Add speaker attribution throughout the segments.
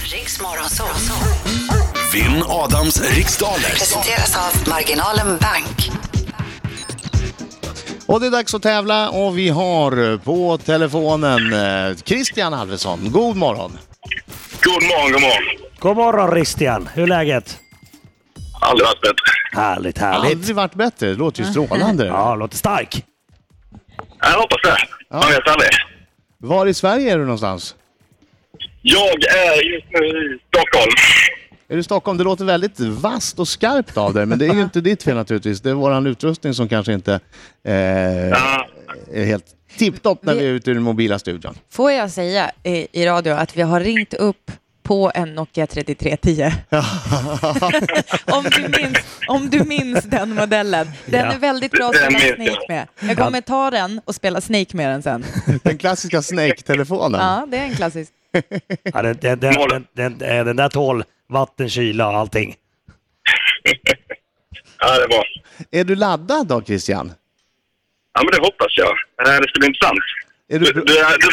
Speaker 1: Riks Morgonzoo.
Speaker 2: Vinn Adams riksdaler.
Speaker 1: Presenteras av Marginalen Bank.
Speaker 3: Och det är dags att tävla och vi har på telefonen eh, Christian Alvesson. God morgon!
Speaker 4: God morgon, god morgon.
Speaker 5: God morgon Christian, hur är läget?
Speaker 4: Aldrig varit bättre.
Speaker 5: Härligt, härligt.
Speaker 3: Aldrig varit bättre, det låter ju strålande.
Speaker 5: Ja, låter stark.
Speaker 4: Jag hoppas det. Man vet aldrig.
Speaker 3: Var i Sverige är du någonstans?
Speaker 4: Jag är just nu i Stockholm.
Speaker 3: Är du i Stockholm? Det låter väldigt vasst och skarpt av dig, men det är ju inte ditt fel naturligtvis. Det är våran utrustning som kanske inte eh,
Speaker 4: Ja,
Speaker 3: är helt tipptopp när vi är ute i den mobila studion.
Speaker 6: Får jag säga i, i radio att vi har ringt upp på en Nokia 3310. om, du minns, om du minns den modellen. Den
Speaker 5: Ja.
Speaker 6: är väldigt bra att
Speaker 4: Den
Speaker 6: spela
Speaker 4: minns jag.
Speaker 6: Snake med. Jag kommer ta den och spela Snake med den sen.
Speaker 3: Den klassiska Snake-telefonen.
Speaker 6: Ja, det är en klassisk.
Speaker 5: Ja, den, den, den, den, den, eh, den där tål vatten, kyla och allting.
Speaker 4: ja det är bra.
Speaker 3: Är du laddad då Christian?
Speaker 4: Ja, men det hoppas jag. Eh, Det ska bli intressant.
Speaker 3: Är
Speaker 4: Du,
Speaker 3: du...
Speaker 4: du, du,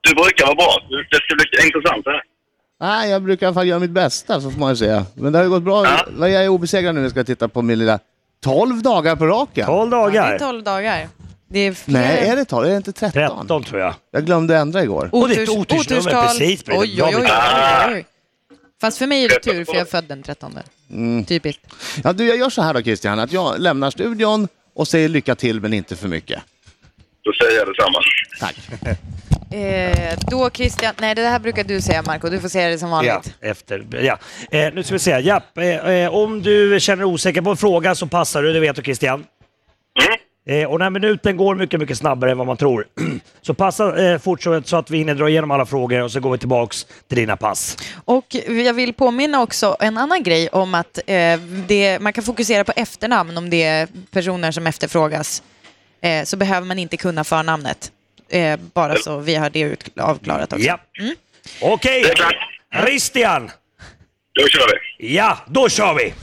Speaker 4: du brukar vara bra. Du- Det ska bli intressant det här.
Speaker 3: Nej, jag brukar i alla fall göra mitt bästa, så får man ju säga. Men det har ju gått bra.
Speaker 4: Ja.
Speaker 3: Jag är obesegrad nu när jag ska titta på min lilla... 12 dagar på raken?
Speaker 5: 12
Speaker 6: Ja, det är
Speaker 5: dagar.
Speaker 6: 12 dagar. Det är fler.
Speaker 3: Nej, är det 12? Är det inte 13?
Speaker 5: 13 tror jag.
Speaker 3: Jag glömde ändra igår.
Speaker 5: Och det är ett otursnummer, precis.
Speaker 6: Oj, oj, oj, oj, oj, oj. Fast för mig är det tur, för jag är född den 13.
Speaker 5: Mm.
Speaker 6: Typiskt.
Speaker 3: Ja, du, jag gör så här då Christian, att jag lämnar studion och säger lycka till men inte för mycket.
Speaker 4: Då säger jag detsamma.
Speaker 3: Tack.
Speaker 6: Eh, då Christian, nej det här brukar du säga Marco, du får säga det som
Speaker 5: Ja,
Speaker 6: vanligt.
Speaker 5: efter, ja. Eh, nu ska vi se. Ja, eh, eh, om du känner dig osäker på en fråga så passar du, det vet du Christian.
Speaker 4: Mm.
Speaker 5: Eh, och den här minuten går mycket, mycket snabbare än vad man tror. så passa eh, fort så så att vi hinner dra igenom alla frågor och så går vi tillbaks till dina pass.
Speaker 6: Och jag vill påminna också en annan grej om att eh, det, man kan fokusera på efternamn om det är personer som efterfrågas. Eh, så behöver man inte kunna förnamnet. Eh, bara så vi har det ut- avklarat också.
Speaker 5: Ja. Okej,
Speaker 4: Det är klart.
Speaker 5: Christian!
Speaker 4: Då kör vi.
Speaker 5: Ja, då kör vi!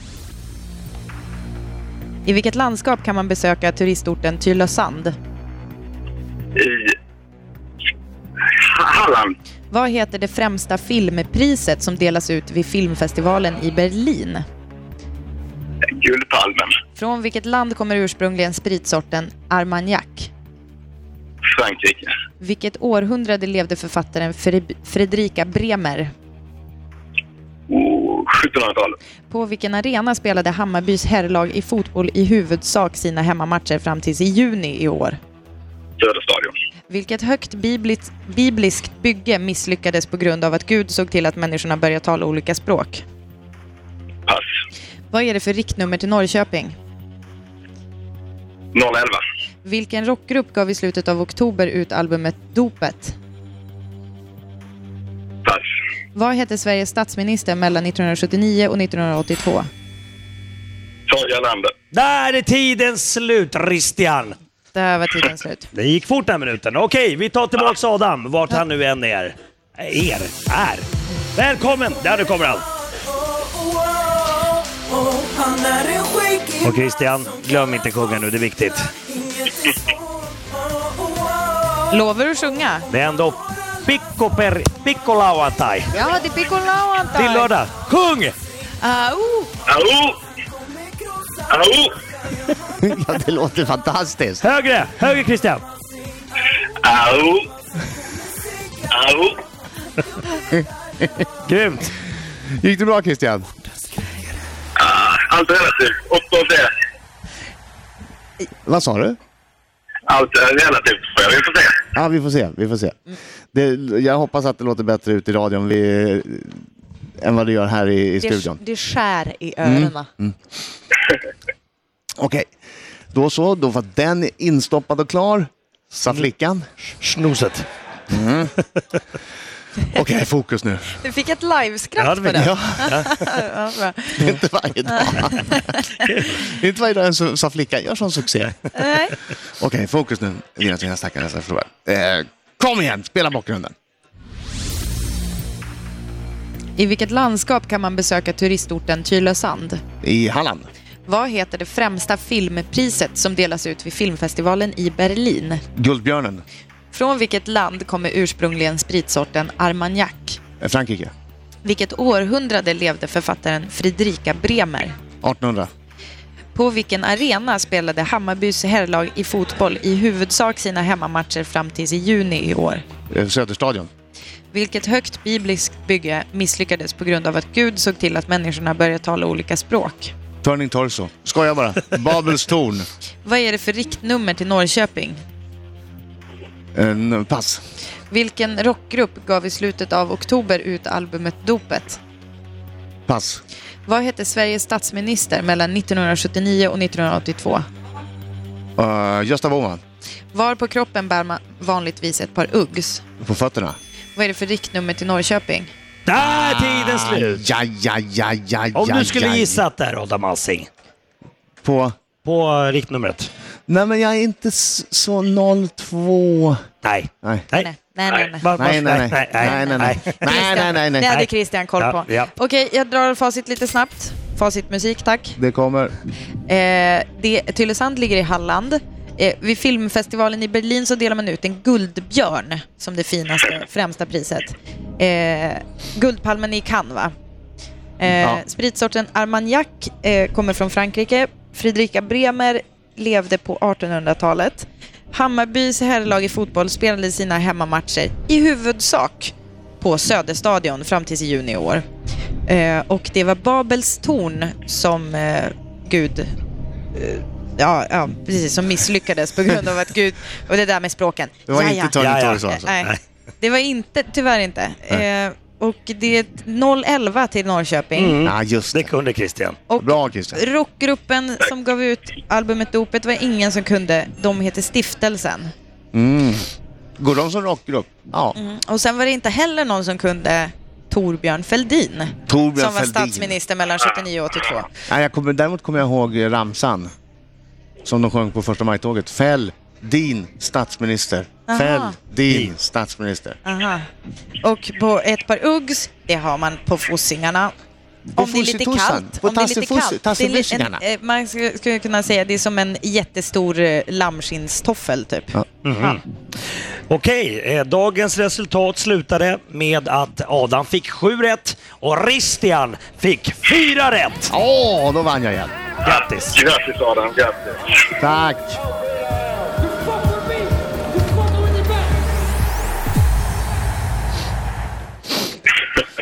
Speaker 6: I vilket landskap kan man besöka turistorten Tylösand?
Speaker 4: I Ha- Halland.
Speaker 6: Vad heter det främsta filmpriset som delas ut vid filmfestivalen i Berlin?
Speaker 4: Guldpalmen.
Speaker 6: Från vilket land kommer ursprungligen spritsorten Armagnac?
Speaker 4: Frankrike.
Speaker 6: Vilket århundrade levde författaren Fre- Fredrika Bremer?
Speaker 4: Oh, 1700-talet.
Speaker 6: På vilken arena spelade Hammarbys herrlag i fotboll i huvudsak sina hemmamatcher fram tills i juni i år?
Speaker 4: Söderstadion.
Speaker 6: Vilket högt biblis- bibliskt bygge misslyckades på grund av att Gud såg till att människorna började tala olika språk?
Speaker 4: Pass.
Speaker 6: Vad är det för riktnummer till Norrköping?
Speaker 4: 011.
Speaker 6: Vilken rockgrupp gav i slutet av oktober ut albumet Dopet?
Speaker 4: Pass.
Speaker 6: Vad hette Sveriges statsminister mellan 1979 och 1982?
Speaker 4: Tage Erlander.
Speaker 5: Där är tiden slut, Christian!
Speaker 6: Där var tiden slut.
Speaker 5: Det gick fort den här minuten. Okej, vi tar tillbaks Adam, vart han nu än är. Er, är. Välkommen! Där nu kommer han.
Speaker 7: Och Christian, glöm inte sjunga nu, det är viktigt.
Speaker 6: Lovar du att sjunga?
Speaker 5: Det är ändå Picco per... Picco lauantai.
Speaker 6: Ja, det är Piccolo
Speaker 5: Det är lördag. Sjung!
Speaker 6: Ah, oh.
Speaker 4: Au! Au!
Speaker 3: ja, det låter fantastiskt.
Speaker 5: Högre! Högre Christian!
Speaker 4: Au! Au!
Speaker 5: Grymt!
Speaker 3: Gick det bra Christian?
Speaker 4: Ah, Allt är relativt. Upp och ner.
Speaker 3: Vad sa du?
Speaker 4: Allt är relativt. får jag. Vi får se.
Speaker 3: Ja, vi får se. Vi får se. Det, jag hoppas att det låter bättre ute i radion vi, än vad det gör här i, i
Speaker 6: det,
Speaker 3: studion.
Speaker 6: det skär i öronen.
Speaker 3: Okej, då så. Då var den instoppad och klar. Satt flickan. Mm.
Speaker 5: Snuset.
Speaker 3: Okej, fokus nu.
Speaker 6: Du fick ett liveskratt
Speaker 5: Ja, det
Speaker 6: på
Speaker 5: fick
Speaker 6: det.
Speaker 3: jag.
Speaker 6: Ja, bra.
Speaker 3: Det är inte varje dag. Det är inte varje dag en så- sa flickan gör sån succé.
Speaker 6: Nej.
Speaker 3: Okej, fokus nu. Mina sina stackare nästa förlorar. Eh, kom igen, spela bakgrunden.
Speaker 6: I vilket landskap kan man besöka turistorten Tylösand?
Speaker 3: I Halland.
Speaker 6: Vad heter det främsta filmpriset som delas ut vid filmfestivalen i Berlin?
Speaker 3: Guldbjörnen.
Speaker 6: Från vilket land kommer ursprungligen spritsorten Armagnac?
Speaker 3: Eh, Frankrike.
Speaker 6: vilket århundrade levde författaren Fredrika Bremer?
Speaker 3: 1800.
Speaker 6: På vilken arena spelade Hammarbys herrlag i fotboll i huvudsak sina hemmamatcher fram tills i juni i år?
Speaker 3: Eh, Söderstadion.
Speaker 6: Vilket högt bibliskt bygge misslyckades på grund av att Gud såg till att människorna började tala olika språk?
Speaker 3: Turning Torso. Skojar bara. Babels torn.
Speaker 6: Vad är det för riktnummer till Norrköping?
Speaker 3: En Eh, pass.
Speaker 6: Vilken rockgrupp gav i slutet av oktober ut albumet Dopet?
Speaker 3: Pass.
Speaker 6: Vad hette Sveriges statsminister mellan 1979 och 1982?
Speaker 3: Eh, Gösta Bohman.
Speaker 6: Var på kroppen bär man vanligtvis ett par Uggs?
Speaker 3: På fötterna.
Speaker 6: Vad är det för riktnummer till Norrköping?
Speaker 5: Där är tiden slut!
Speaker 3: Ja, ja, ja, ja,
Speaker 5: Om
Speaker 3: ja,
Speaker 5: du skulle
Speaker 3: ja.
Speaker 5: gissat där, Adam Alsing,
Speaker 3: På...
Speaker 5: på eh, riktnumret?
Speaker 3: Nej, men jag är inte s- så 02...
Speaker 5: Nej.
Speaker 3: Nej.
Speaker 5: Nej.
Speaker 6: Nej, nej, nej. nej.
Speaker 5: Va- va-
Speaker 3: Nej, nej, nej. Nej, nej, nej. Nej, nej, nej,
Speaker 6: Det hade
Speaker 3: nej.
Speaker 6: Christian koll
Speaker 5: Ja,
Speaker 6: på.
Speaker 5: ja.
Speaker 6: Okej, jag drar facit lite snabbt. Facitmusik, tack.
Speaker 3: Det kommer.
Speaker 6: Eh, det, Tylösand ligger i Halland. Eh, vid filmfestivalen i Berlin så delar man ut en guldbjörn som det finaste, främsta priset. Eh, guldpalmen i Cannes, va? Eh,
Speaker 3: Ja.
Speaker 6: Spritsorten Armagnac eh, kommer från Frankrike. Fredrika Bremer levde på 1800-talet. Hammarbys herrlag i fotboll spelade sina hemmamatcher i huvudsak på Söderstadion fram tills i juni i år. Eh, och det var Babels torn som eh, Gud... Eh, ja, ja, precis, som misslyckades på grund av att Gud... Och det där med språken.
Speaker 3: Det var
Speaker 6: Ja, ja.
Speaker 3: inte Turning
Speaker 5: Ja, ja.
Speaker 3: Torso alltså.
Speaker 6: Nej, det var inte, tyvärr inte. Eh, och det är 011 till Norrköping.
Speaker 3: Ja, just
Speaker 5: Det
Speaker 3: det.
Speaker 5: kunde Christian.
Speaker 6: Och
Speaker 3: Mm, Bra, Christian.
Speaker 6: rockgruppen som gav ut albumet Dopet var ingen som kunde. De heter Stiftelsen.
Speaker 3: Mm. Går de som rockgrupp? Ja.
Speaker 6: Och sen var det inte heller någon som kunde Torbjörn Fälldin.
Speaker 3: Torbjörn
Speaker 6: som var
Speaker 3: Fälldin.
Speaker 6: statsminister mellan 79 och 82.
Speaker 3: Nej, jag kommer, däremot kommer jag ihåg eh, ramsan som de sjöng på första majtåget. Fäll din statsminister.
Speaker 6: Aha.
Speaker 3: Fäll din statsminister.
Speaker 6: Aha. Och på ett par Uggs, det har man på fossingarna.
Speaker 3: På
Speaker 6: Om det är lite
Speaker 3: fossitossan.
Speaker 6: kallt.
Speaker 3: På
Speaker 6: om det är lite
Speaker 3: tassefossi-
Speaker 6: kallt. Det är li- en,
Speaker 3: tassefissingarna.
Speaker 6: eh, man sk- skulle kunna säga det är som en jättestor eh, lammskinnstoffel typ.
Speaker 3: Ja.
Speaker 5: Okej, eh, dagens resultat slutade med att Adam fick sju rätt och Christian fick fyra rätt.
Speaker 3: Åh, då vann jag igen.
Speaker 5: Grattis!
Speaker 4: Grattis Adam, grattis.
Speaker 3: Tack!
Speaker 8: You fuck with me, you fucking with your back.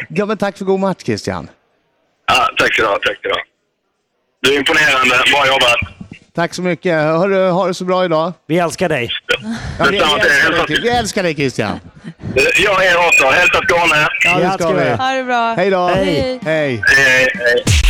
Speaker 3: Ja, men tack för god match, Christian.
Speaker 4: Ja, tack så du ha, tack så du ha. Du är imponerande, bra jobbat.
Speaker 3: Tack så mycket. Hörru, ha det så bra idag.
Speaker 5: Vi älskar dig.
Speaker 3: Ja, vi, vi,
Speaker 4: Detsamma till er.
Speaker 3: älskar
Speaker 4: Hälsa
Speaker 3: dig, Christian. vi älskar dig, Christian.
Speaker 4: till- Jag är också, hälsa Skåne.
Speaker 3: Ja, det
Speaker 5: Ja,
Speaker 3: ska vi.
Speaker 6: Ha det bra.
Speaker 3: Hej då!
Speaker 5: Hej.
Speaker 3: Hej!
Speaker 4: Hej, hej.